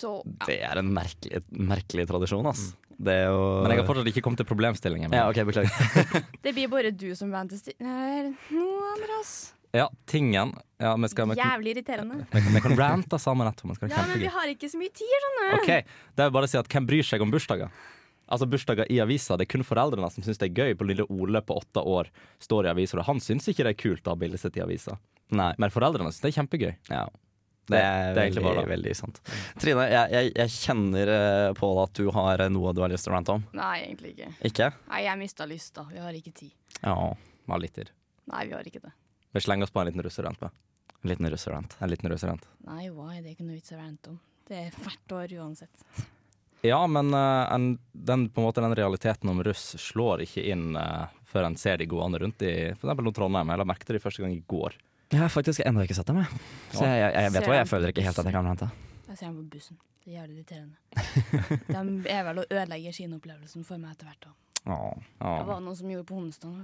Speaker 7: Så ja.
Speaker 6: Det er en merkelig, merkelig tradisjon, ass. Det er jo
Speaker 2: Men jeg har fortsatt ikke kommet til problemstillingen. min.
Speaker 6: Ja, ok, beklager.
Speaker 7: det blir bare du som venter Nei, nå, Andreas.
Speaker 2: Ja, tingen ja, vi skal, vi, kan-
Speaker 7: Jævlig irriterende.
Speaker 2: vi kan rante sammen etterpå. men skal det
Speaker 7: Ja, men vi
Speaker 2: kjempegøy.
Speaker 7: har ikke så mye tid, skjønner du.
Speaker 2: Ok, det er jo bare å si at Hvem bryr seg om bursdager? Altså Bursdager i avisa, Det er kun foreldrene som syns det er gøy. På lille Ole på åtte år står i avisa, og han syns ikke det er kult å ha bildet sitt i avisa.
Speaker 6: Nei.
Speaker 2: Men foreldrene syns det er kjempegøy.
Speaker 6: Ja. Det er,
Speaker 2: Det- det er egentlig
Speaker 6: veldig,
Speaker 2: bare det.
Speaker 6: veldig sant. Trine, jeg, jeg, jeg kjenner eh, på at du har eh, noe du har lyst til å rante om.
Speaker 7: Nei, egentlig ikke.
Speaker 6: Ikke?
Speaker 7: Nei, jeg mista lysta. Vi har ikke tid.
Speaker 6: Ja.
Speaker 2: Vi har litt tid.
Speaker 7: Nei, vi har ikke det.
Speaker 2: Vi slenger oss på en liten russerant. med.
Speaker 6: En liten russerant.
Speaker 2: En liten russerant.
Speaker 7: Nei, why? Det er ikke noe vits å rante om. Det er hvert år uansett.
Speaker 2: Ja, men eh, en, den, på en måte, den realiteten om russ slår ikke inn eh, før en ser de gående rundt i for eksempel nå Trondheim. Jeg la merke til det første gang i går.
Speaker 6: Jeg har faktisk ennå ikke sett dem, jeg. Så jeg, jeg, jeg vet hva, jeg føler ikke helt at jeg kan rante.
Speaker 7: Jeg ser dem på bussen. Det er jævlig irriterende. De er vel og ødelegger kinoopplevelsen for meg etter hvert. da. Det
Speaker 2: Ja.
Speaker 7: var noen som gjorde på onsdag.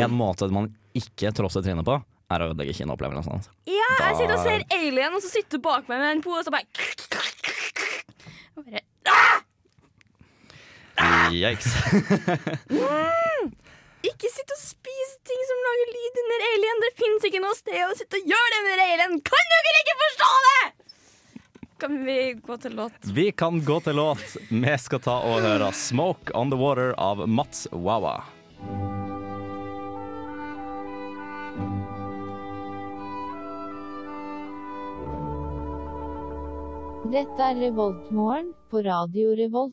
Speaker 6: En måte man ikke trosser Trine på, er å ødelegge kinoopplevelsen hans.
Speaker 7: Ja, jeg sitter og ser Alien, og så sitter du bak meg med en pose og bare Og bare,
Speaker 6: Yikes.
Speaker 7: Ikke sitt og spis ting som lager lyd under Alien! Det fins ikke noe sted å sitte og gjøre det under Alien! Kan dere ikke forstå det?! Kan vi gå til låt?
Speaker 2: Vi kan gå til låt. Vi skal ta og høre 'Smoke On The Water' av Mats Wawa.
Speaker 10: Dette er Revoltmorgen på Radio Revolt.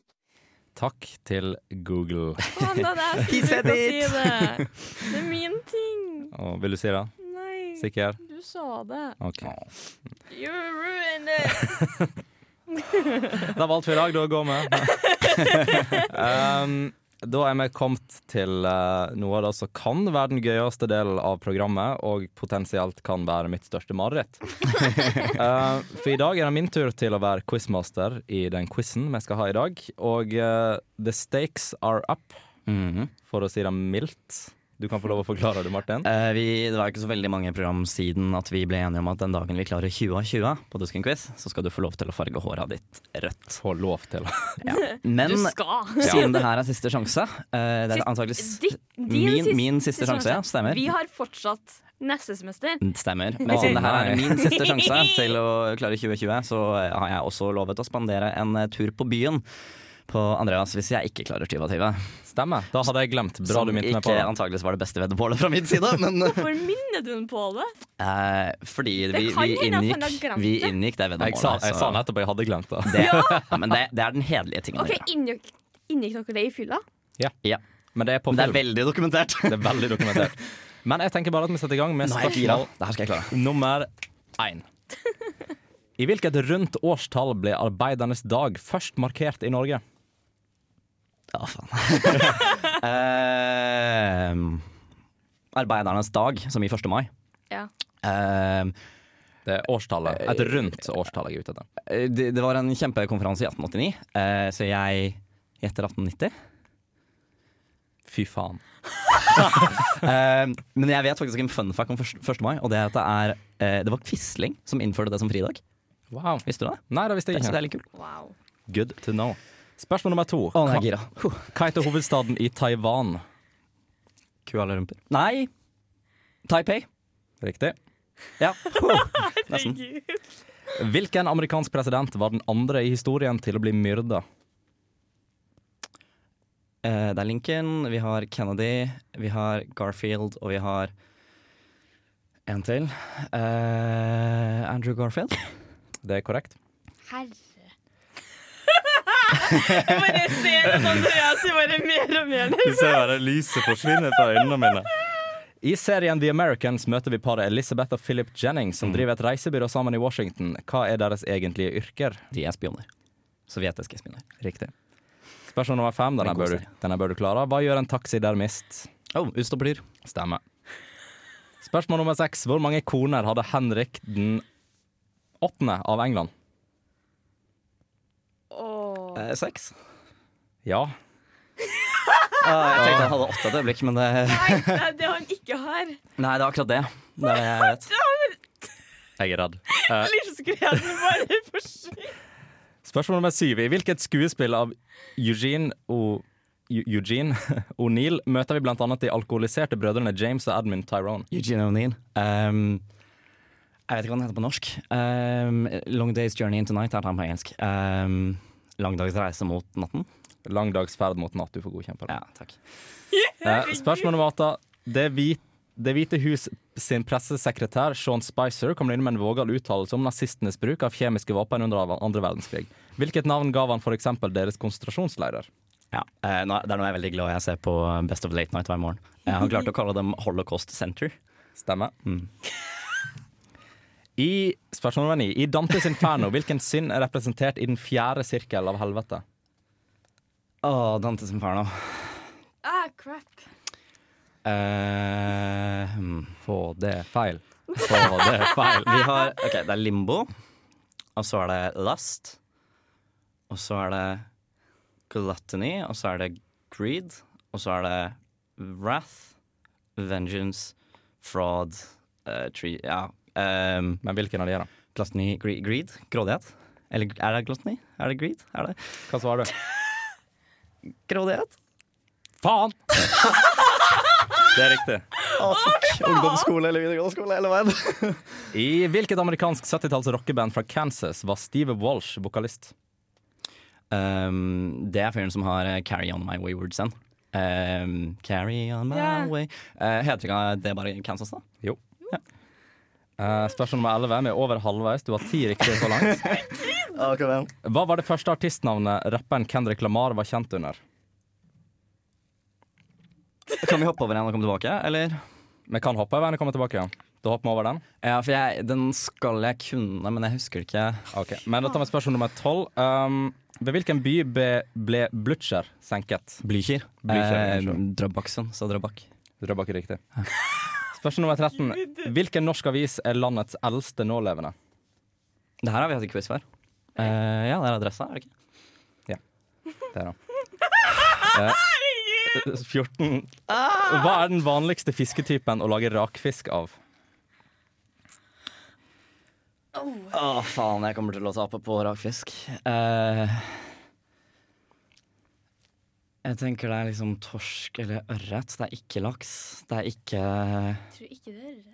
Speaker 2: Takk til Google.
Speaker 7: Faen, da, det er jeg som bruker å si det. Det er min ting.
Speaker 2: Og vil du si det?
Speaker 7: Nei,
Speaker 2: Sikker?
Speaker 7: du sa det.
Speaker 2: Ok.
Speaker 7: You ruined it.
Speaker 2: Det var alt for i dag. Da går vi. um, da er vi kommet til eh, noe av det som kan være den gøyeste delen av programmet, og potensielt kan være mitt største mareritt. Eh, for i dag er det min tur til å være quizmaster i den quizen vi skal ha i dag. Og eh, the stakes are up,
Speaker 6: Mhm.
Speaker 2: for å si det mildt. Du kan få lov å forklare det, Martin.
Speaker 6: Eh, vi, det var ikke så veldig mange program siden at vi ble enige om at den dagen vi klarer 20 av 20 på Dusken Quiz, så skal du få lov til å farge håret ditt rødt.
Speaker 2: Få lov til.
Speaker 6: Men
Speaker 7: Du skal.
Speaker 6: siden det her er siste sjanse eh, Det er
Speaker 7: Sist-
Speaker 6: antakelig
Speaker 7: Di- din
Speaker 6: min, min siste sjanse, ja. Stemmer.
Speaker 7: Vi har fortsatt neste semester.
Speaker 6: Stemmer. Men
Speaker 2: Å,
Speaker 6: siden det her
Speaker 2: nei.
Speaker 6: er min siste sjanse til å klare 2020, så eh, har jeg også lovet å spandere en eh, tur på byen på Andreas hvis jeg ikke klarer 20 av 20.
Speaker 2: Stemmer. Da hadde jeg glemt. Bra
Speaker 6: Som
Speaker 2: du minnet meg på
Speaker 6: ikke
Speaker 2: det.
Speaker 6: antakeligvis var det beste veddemålet fra min side, men
Speaker 7: Hvorfor minner du den på det?
Speaker 6: eh, fordi vi,
Speaker 7: Det kan
Speaker 6: vi,
Speaker 7: hende at han har
Speaker 6: inngikk,
Speaker 7: glemt
Speaker 6: vi
Speaker 7: det.
Speaker 6: inngikk det
Speaker 2: Jeg sa,
Speaker 6: veddemålet.
Speaker 2: jeg
Speaker 6: så-
Speaker 2: sa nettopp jeg hadde glemt det.
Speaker 6: Det, ja, men det, det er den hederlige tingen å
Speaker 7: OK,
Speaker 6: gjøre.
Speaker 7: inngikk inngikk dere det i fylla?
Speaker 6: Ja.
Speaker 2: Men det er på
Speaker 6: Men det er
Speaker 2: film.
Speaker 6: veldig dokumentert.
Speaker 2: Det er veldig dokumentert. Men jeg tenker bare at vi setter i gang med
Speaker 6: Nå er jeg gira.
Speaker 2: spørsmål
Speaker 6: Det her skal jeg klare.
Speaker 2: nummer én. I hvilket rundt årstall ble arbeidernes dag først markert i Norge?
Speaker 6: Ja, faen. Ehm, arbeidernes dag, som i 1. mai.
Speaker 7: Ja.
Speaker 6: Ehm,
Speaker 2: Det er årstallet. Et
Speaker 6: Eh,
Speaker 2: rundt årstall jeg er ute etter.
Speaker 6: det, det var en kjempekonferanse i 1889, eh, så jeg gjetter 1890.
Speaker 2: Fy faen.
Speaker 6: Ehm, men jeg vet faktisk en fun fact om 1. 1. mai, og det er at det er eh, Det var Quisling som innførte det som fridag.
Speaker 2: Wow.
Speaker 6: Visste du det?
Speaker 2: Nei, det visste jeg
Speaker 6: Det er, så det
Speaker 2: ikke.
Speaker 6: er litt kult.
Speaker 7: Wow.
Speaker 2: Good to know. Spørsmål nummer to.
Speaker 6: Å, nå er
Speaker 2: Hva-
Speaker 6: jeg gira. Huh.
Speaker 2: Hva heter hovedstaden i Taiwan?
Speaker 6: Kuala Lumpur. Nei! Taipei.
Speaker 2: Riktig.
Speaker 6: Ja. Huh. Nesten.
Speaker 7: Herregud.
Speaker 2: Hvilken amerikansk president var den andre i historien til å bli myrda?
Speaker 6: Eh, det er Lincoln, vi har Kennedy, vi har Garfield, og vi har en til. Eh, Andrew Garfield.
Speaker 2: Det er korrekt.
Speaker 7: Herre. Jeg bare ser at Andreas er bare mer og mer
Speaker 2: Du ser bare lyset forsvinne fra øynene mine. I serien The Americans møter vi paret Elizabeth og Philip Jennings,
Speaker 6: Mm.
Speaker 2: som driver et reisebyrå sammen i Washington. Hva er deres egentlige yrker?
Speaker 6: De er spioner. Sovjetiske spioner.
Speaker 2: Riktig. Spørsmål nummer fem. Den her
Speaker 6: En god
Speaker 2: bør, du-
Speaker 6: serie.
Speaker 2: den her bør du klare. Hva gjør en taxidermist?
Speaker 6: Oh, utstopper dyr.
Speaker 2: Stemmer. Spørsmål nummer seks. Hvor mange koner hadde Henrik den åttende av England?
Speaker 7: Åh.
Speaker 6: Eh, seks.
Speaker 2: Ja.
Speaker 6: Ah, jeg tenkte jeg hadde åtte et øyeblikk, men det
Speaker 7: Nei, det er det han ikke har.
Speaker 6: Nei, det er akkurat det. Det er det jeg vet.
Speaker 2: Jeg er redd. Eh,
Speaker 7: Livsgleden bare forsvinner.
Speaker 2: Spørsmål nummer syv. I hvilket skuespill av Eugene O... Eu- Eugene O'Neill møter vi blant annet de alkoholiserte brødrene James og Edmund Tyrone.
Speaker 6: Eugene O'Neill. Ehm, jeg vet ikke hva den heter på norsk. Ehm, Long Day's Journey Into Night er den på engelsk. Ehm, lang dags reise mot natten.
Speaker 2: Lang dags ferd mot natt, du får godkjempe.
Speaker 6: Ja, takk.
Speaker 2: Eh, spørsmål nummer åtte. Det, hvit, det hvite hus sin pressesekretær Sean Spicer kommer inn med en vågal uttalelse om nazistenes bruk av kjemiske våpen under av- andre verdenskrig. Hvilket navn ga han f.eks. deres konsentrasjonsleirer?
Speaker 6: Ja, eh, nå, Det er noe jeg er veldig glad jeg ser på Best of Late Night hver morgen. Eh, han klarte å kalle dem Holocaust Center.
Speaker 2: Stemmer. I spørsmål nummer ni. I Dantes Inferno, hvilken synd er representert i den fjerde sirkel av helvete?
Speaker 6: Å, Dantes Inferno.
Speaker 7: Ah, crap.
Speaker 6: Eh, hmm.
Speaker 2: Få det feil. Få det feil.
Speaker 6: Vi har Ok, det er Limbo. Og så er det Lust. Og så er det Gluttony. Og så er det Greed. Og så er det Wrath. Vengeance. Fraud. eh, tree, ja. ehm,
Speaker 2: Men hvilken av de er det?
Speaker 6: gluttony, gre greed. Grådighet. Eller er det gluttony? Er det greed? Er det
Speaker 2: Hva svarer du?
Speaker 6: grådighet?
Speaker 2: Faen! Det er riktig.
Speaker 6: Ungdomsskole eller videregående skole, eller hva enn.
Speaker 2: I hvilket amerikansk 70-talls rockeband fra Kansas var Steve Walsh vokalist?
Speaker 6: Um, det er fyren som har eh, 'Carry On My Wayward Son'. Um, carry on my
Speaker 7: Ja.
Speaker 6: way Eh, Heter ikke det bare i Kansas, da?
Speaker 2: Jo. Ja. Eh, spørsmål nummer 11. Vi er over halvveis. Du har ti riktige så langt.
Speaker 6: Ja, kom igjen.
Speaker 2: Hva var det første artistnavnet rapperen Kendrick Lamar var kjent under?
Speaker 6: Kan vi hoppe over en og komme tilbake, eller?
Speaker 2: Vi kan hoppe over den og komme tilbake igjen. Da hopper vi over den.
Speaker 6: Ja, for jeg, den skal jeg kunne, men jeg husker det ikke.
Speaker 2: Ah, Ok, Men da tar vi spørsmål nummer tolv. Um, ved hvilken by be, ble Blücher senket?
Speaker 6: Blykjer.
Speaker 2: Blykjer,
Speaker 6: Eh,
Speaker 2: unnskyld.
Speaker 6: Drøbaksen, sa Drøbak.
Speaker 2: Drøbak er riktig. Spørsmål nummer 13. Hvilken norsk avis er landets eldste nålevende?
Speaker 6: Det her har vi hatt en quiz for. Eh, ja, det er adressa, er det ikke?
Speaker 2: Det er han. Eh, 14. Hva er den vanligste fisketypen å lage rakfisk av?
Speaker 6: Å, faen, jeg kommer til å tape på rakfisk. Eh, jeg tenker det er liksom torsk eller ørret. Det er ikke laks. Det er ikke
Speaker 7: Jeg tror ikke det er rett.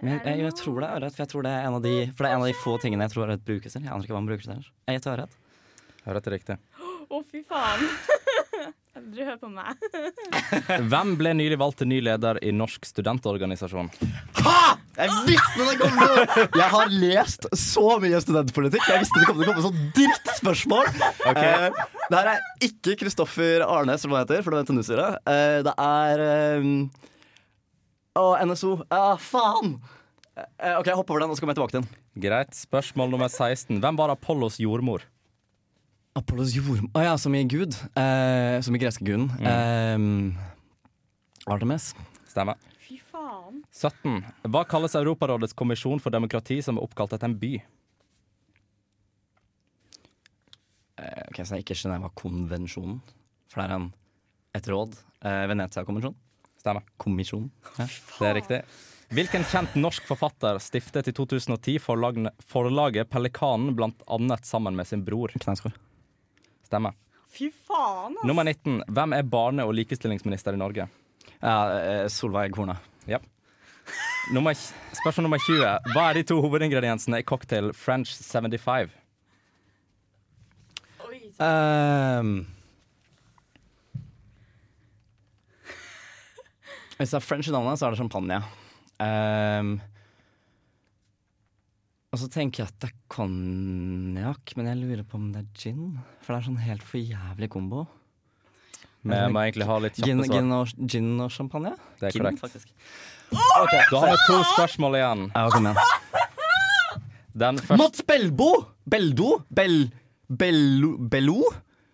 Speaker 6: Men jeg, jeg, jeg tror det er ørret, for jeg tror det er en av de For det er en av de få tingene jeg tror ørret brukes til. Jeg aner ikke hva man bruker det til ellers. Jeg gjetter ørret.
Speaker 2: Hører dette riktig?
Speaker 7: Å, fy faen. Aldri hør på meg.
Speaker 2: Hvem ble nylig valgt til ny leder i Norsk studentorganisasjon?
Speaker 6: Jeg visste det kom til å Jeg har lest så mye studentpolitikk. Jeg visste det kom til å komme sånn drittspørsmål. Okay. Eh, det her er ikke Kristoffer Arnes, som han heter, for det vet NU-styret. Eh, det er eh, Å, NSO. Ja, faen! Eh, OK, jeg hopper over den, og så kommer jeg tilbake til den.
Speaker 2: Greit. Spørsmål nummer 16. Hvem var Apollos jordmor?
Speaker 6: Apollos jord... Å ja, som i Gud. Eh, som i greske guden. Mm. Eh, Artemis.
Speaker 2: Stemmer.
Speaker 7: Fy faen.
Speaker 2: 17. Hva kalles Europarådets kommisjon for demokrati som er oppkalt etter en by?
Speaker 6: Eh, ok, Så det er ikke Genève-konvensjonen, for det er en, et råd. Eh, Venezia-konvensjonen.
Speaker 2: Stemmer.
Speaker 6: Kommisjonen. Ja.
Speaker 2: Det er riktig. Hvilken kjent norsk forfatter stiftet i 2010 forlagne- forlaget Pelikanen blant annet sammen med sin bror?
Speaker 6: Knausgård.
Speaker 2: Stemmer.
Speaker 7: Fy faen, altså.
Speaker 2: Nummer 19. Hvem er barne- og likestillingsminister i Norge?
Speaker 6: Ja, eh, Solveig Horne.
Speaker 2: Ja. Nummer, spørsmål nummer 20. Hva er de to hovedingrediensene i cocktail French 75?
Speaker 6: Ehm. Hvis det er French i navnet, så er det champagne. Ehm. og så tenker jeg at det er konjakk, men jeg lurer på om det er gin. For det er sånn helt for jævlig kombo.
Speaker 2: Vi må egentlig ha litt
Speaker 6: Gin,
Speaker 2: kjappe svar.
Speaker 6: gin, og, gin og champagne?
Speaker 2: Det er
Speaker 6: gin,
Speaker 2: korrekt.
Speaker 6: faktisk.
Speaker 2: Da har vi to spørsmål igjen.
Speaker 6: Ja, kom igjen.
Speaker 2: Den første,
Speaker 6: Mats Belbo! Beldo? Bel... Bello? Bello?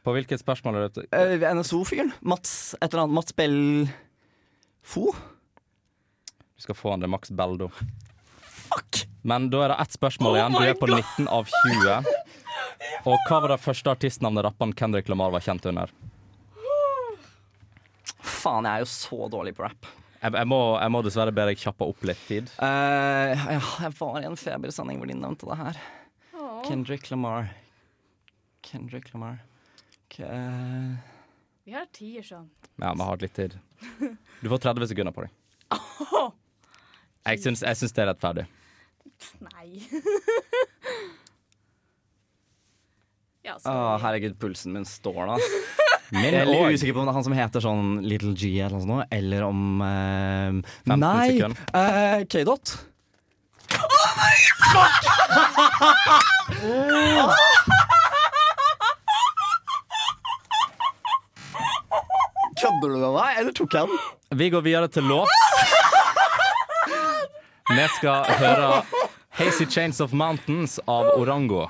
Speaker 2: på hvilket spørsmål er det?
Speaker 6: Eh, NSO-fyren. Mats et eller annet. Mats Bell... Fo?
Speaker 2: Du skal få han det, Max Beldo.
Speaker 6: Fuck!
Speaker 2: Men da er det ett spørsmål igjen. Du er på 19 av 20. Og hva var det første artistnavnet rapperen Kendrick Lamar var kjent under?
Speaker 6: Faen, jeg er jo så dårlig på rap.
Speaker 2: Jeg, jeg, må, jeg må dessverre be deg kjappe opp litt tid.
Speaker 6: Eh, ja, jeg var i en febersending hvor de nevnte det her. Kendrick Lamar. Kendrick Lamar. K eh,
Speaker 7: Vi har ti, sånn.
Speaker 2: Ja, vi har litt tid. Du får 30 sekunder på deg. Jeg syns, jeg syns det er rettferdig.
Speaker 7: Nei. ja,
Speaker 6: Å,
Speaker 7: så
Speaker 6: herregud, pulsen min står da.
Speaker 2: Min
Speaker 6: Jeg er
Speaker 2: og-
Speaker 6: litt usikker på om det er han som heter sånn Little G eller noe sånt, eller om eh,
Speaker 2: 15
Speaker 6: Nei!
Speaker 2: sekunder.
Speaker 6: eh, K-Dot. Kødder du med meg, eller tok jeg den?
Speaker 2: Vi går videre til låt. Vi skal høre Hazy Chains of Mountains av Orango.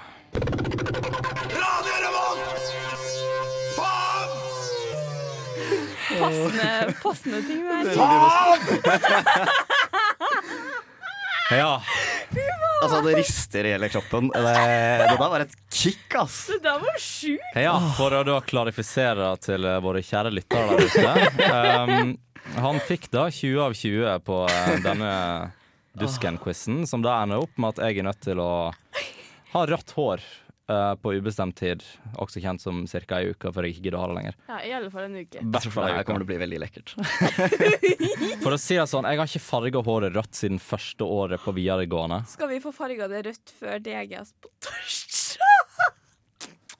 Speaker 7: passende, passende ting der.
Speaker 2: Ja,
Speaker 6: Altså, det rister i hele kroppen. Det, det der var et kick, ass.
Speaker 7: Det der var sjukt.
Speaker 2: ja For å da klarifisere til eh, våre kjære lyttere der ute. Um, han fikk da 20 av 20 på eh, denne Dusken-quizen, som da ender opp med at jeg er nødt til å ha rødt hår eh, på ubestemt tid, også kjent som ca. ei uke, før jeg ikke gidder å ha det lenger.
Speaker 7: Ja, I alle fall en uke.
Speaker 2: Hvert fall ei uke.
Speaker 6: til å bli veldig lekkert.
Speaker 2: For å si det sånn, jeg har ikke farga håret rødt siden første året på videregående.
Speaker 7: Skal vi få farga det rødt før DGS på torsdag?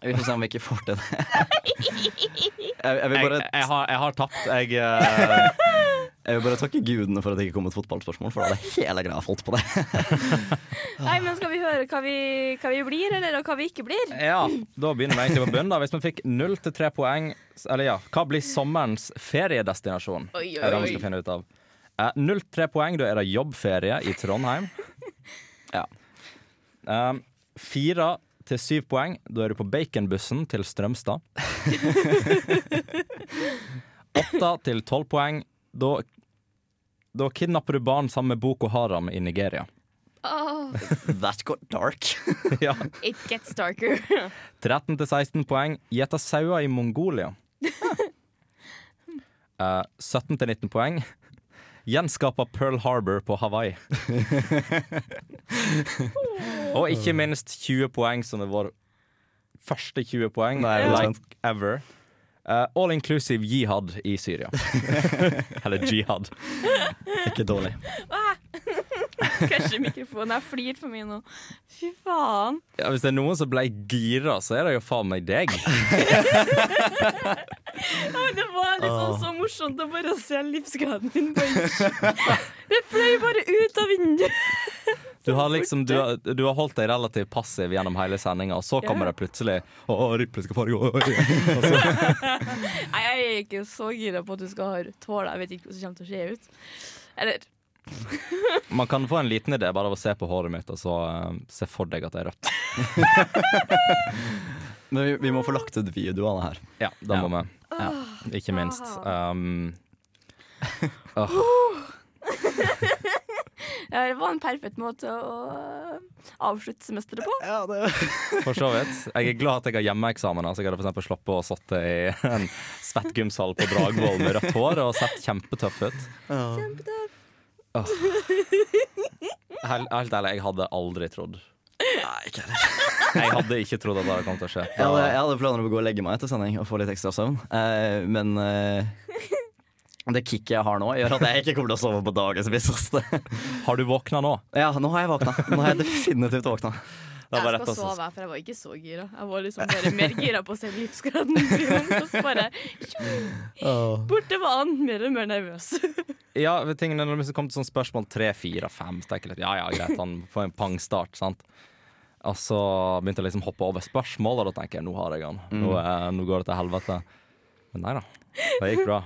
Speaker 6: Vi får se om vi ikke får til det. Jeg, jeg vil
Speaker 2: Jeg,
Speaker 6: bare
Speaker 2: jeg, har, jeg har tapt. Jeg, eh,
Speaker 6: Jeg vil bare takke gudene for at det ikke kom et fotballspørsmål, for da hadde hele greia falt på det.
Speaker 10: Nei, men skal vi høre hva vi, hva vi blir, eller og hva vi ikke blir?
Speaker 2: Ja, da begynner vi egentlig på bunnen. da Hvis man fikk null til tre poeng Eller ja, hva blir sommerens feriedestinasjon?
Speaker 10: Oi, oi,
Speaker 2: Er det vi
Speaker 10: oi.
Speaker 2: skal finne ut av. Eh, Null til tre poeng, da er det jobbferie i Trondheim. Ja. Um, fire til syv poeng, da er du på baconbussen til Strømstad. Åtte til tolv poeng, da da kidnapper du barn sammen med Boko Haram i Nigeria.
Speaker 10: Åh,
Speaker 6: That got dark.
Speaker 2: Ja.
Speaker 10: it gets darker.
Speaker 2: 13 til 16 poeng. Gjeta sauer i Mongolia. Eh, 17 til 19 poeng. Gjenskapa Pearl Harbor på Hawaii. Og ikke minst 20 poeng, som det var første 20 poeng.
Speaker 6: Nei, jeg er
Speaker 2: like
Speaker 6: spent.
Speaker 2: ever. Eh, all inclusive jihad i Syria. Eller jihad.
Speaker 6: Ikke dårlig.
Speaker 10: Kanskje mikrofonen er flirt for mye nå. Fy faen.
Speaker 2: Ja, hvis det er noen som ble gira, så er det jo faen meg deg.
Speaker 10: Ja, Det var liksom så morsomt å bare se livsgraden din bare Det fløy bare ut av vinduet.
Speaker 2: Du har liksom du, har- du har holdt deg relativt passiv gjennom hele sendinga, og så kommer det plutselig Å, Ripley skal fare i går.
Speaker 10: Nei, jeg er ikke så gira på at du skal ha rødt hår. da. Jeg vet ikke hvordan det kommer til å se ut. Eller
Speaker 2: Man kan få en liten idé bare av å se på håret mitt, og så eh, se for deg at det er rødt.
Speaker 6: Men vi, vi må få lagt ut video av det her.
Speaker 2: Ja, da må
Speaker 6: Ja.
Speaker 2: vi. Ikke minst. Um, åh,
Speaker 10: ja, Det var en perfekt måte å eh, avslutte semesteret på.
Speaker 2: for så vidt. Jeg er glad at jeg har hjemmeeksamen, så jeg hadde for eksempel sluppet å sitte i en svett gymsal på Dragvoll med rødt hår og sett kjempetøff ut. Åh. Helt, helt ærlig, jeg hadde aldri trodd.
Speaker 6: Nei, ikke heller.
Speaker 2: Jeg hadde ikke trodd at det hadde kommet til å skje.
Speaker 6: Jeg hadde, jeg hadde planer om å gå og legge meg etter sending og få litt ekstra søvn, eh, men eh, det kicket jeg har nå, gjør at jeg ikke kommer til å sove på dagevis. ass.
Speaker 2: Har du våkna nå?
Speaker 6: Ja, nå har jeg våkna. Nå har jeg definitivt våkna.
Speaker 2: Det var
Speaker 10: Jeg
Speaker 2: rett
Speaker 10: skal
Speaker 2: og slett.
Speaker 10: sove, her, for jeg var ikke så gira. Jeg var liksom bare mer gira på å se livsgraden bli ung, og så bare Borte var han, mer og mer nervøs.
Speaker 2: Ja, ved tingene når det kom til sånn spørsmål 3, 4, 5 så tenker jeg litt, Ja, ja, greit, han får en pangstart, sant Og så begynte jeg liksom å hoppe over spørsmål Og da tenker jeg, nå har jeg han
Speaker 6: Mm.
Speaker 2: Nå, eh, nå går det til helvete Men nei da, det gikk bra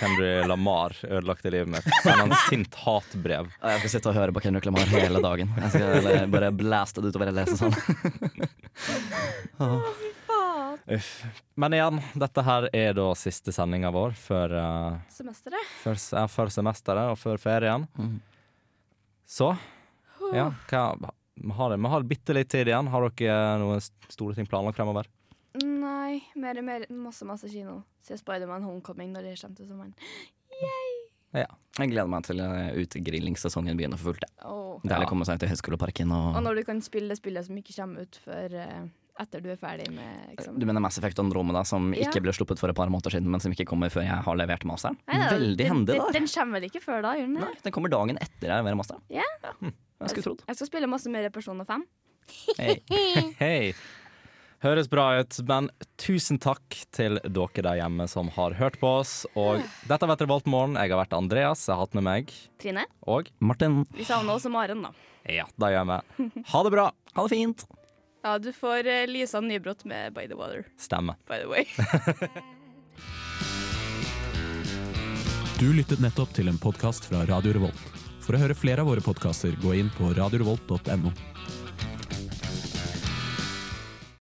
Speaker 2: Kendry Lamar ødelagte livet mitt Send han sint hatbrev
Speaker 6: Ja, Jeg skal sitte og høre på Kendrick Lamar hele dagen. Jeg skal eh, bare blaste det utover sånn. hele lesesalen.
Speaker 2: Uff. Men igjen, dette her er da siste sendingen vår Før, eh,
Speaker 10: Semesteret.
Speaker 2: før, ja, før semesteret og før ferien
Speaker 6: Mm.
Speaker 2: Så Ja, hva vi har, det- vi har bitte litt tid igjen. Har dere eh, noen s- store ting planlagt fremover?
Speaker 10: Nei, mer og mer masse, masse kino. Se Spiderman Homecoming når det kommer til sommeren.
Speaker 6: Jeg gleder meg til eh, utegrillingssesongen begynner for fullt. jeg.
Speaker 10: Åh.
Speaker 6: Det er å komme seg til Høgskoleparken og
Speaker 10: Og når du kan spille det spillet som ikke kommer ut før eh, etter du er ferdig med
Speaker 6: Du
Speaker 10: eksamen.
Speaker 6: mener Mass Effect Andromeda, som
Speaker 10: Ja.
Speaker 6: ikke ble sluppet for et par måneder siden, men som ikke kommer før jeg har levert masteren?
Speaker 10: Nei, da,
Speaker 6: Veldig
Speaker 10: den-
Speaker 6: hendig,
Speaker 10: den-
Speaker 6: da.
Speaker 10: Den kommer vel ikke før da, gjør den
Speaker 6: Nei,
Speaker 10: det?
Speaker 6: den kommer dagen etter jeg leverer masteren. Hm,
Speaker 10: Ja.
Speaker 6: Jeg skulle trodd.
Speaker 10: Jeg skal spille masse mer Persona 5.
Speaker 6: Hey.
Speaker 2: Hei. Høres bra ut, men tusen takk til dere der hjemme som har hørt på oss. Og dette har vært Revoltmorgen. Jeg har vært Andreas, jeg har hatt med meg,
Speaker 10: Trine,
Speaker 2: og
Speaker 6: Martin,
Speaker 10: vi savner også Maren, da.
Speaker 2: ja, da gjør vi. Ha det bra.
Speaker 6: ha det fint!
Speaker 10: Ja, du får eh, Lisa Nybrott med By the Water,
Speaker 2: Stemme.
Speaker 10: by the way.
Speaker 1: Du lyttet nettopp til en podkast fra Radio Revolt. For å høre flere av våre podkaster, gå inn på radiorevolt.no.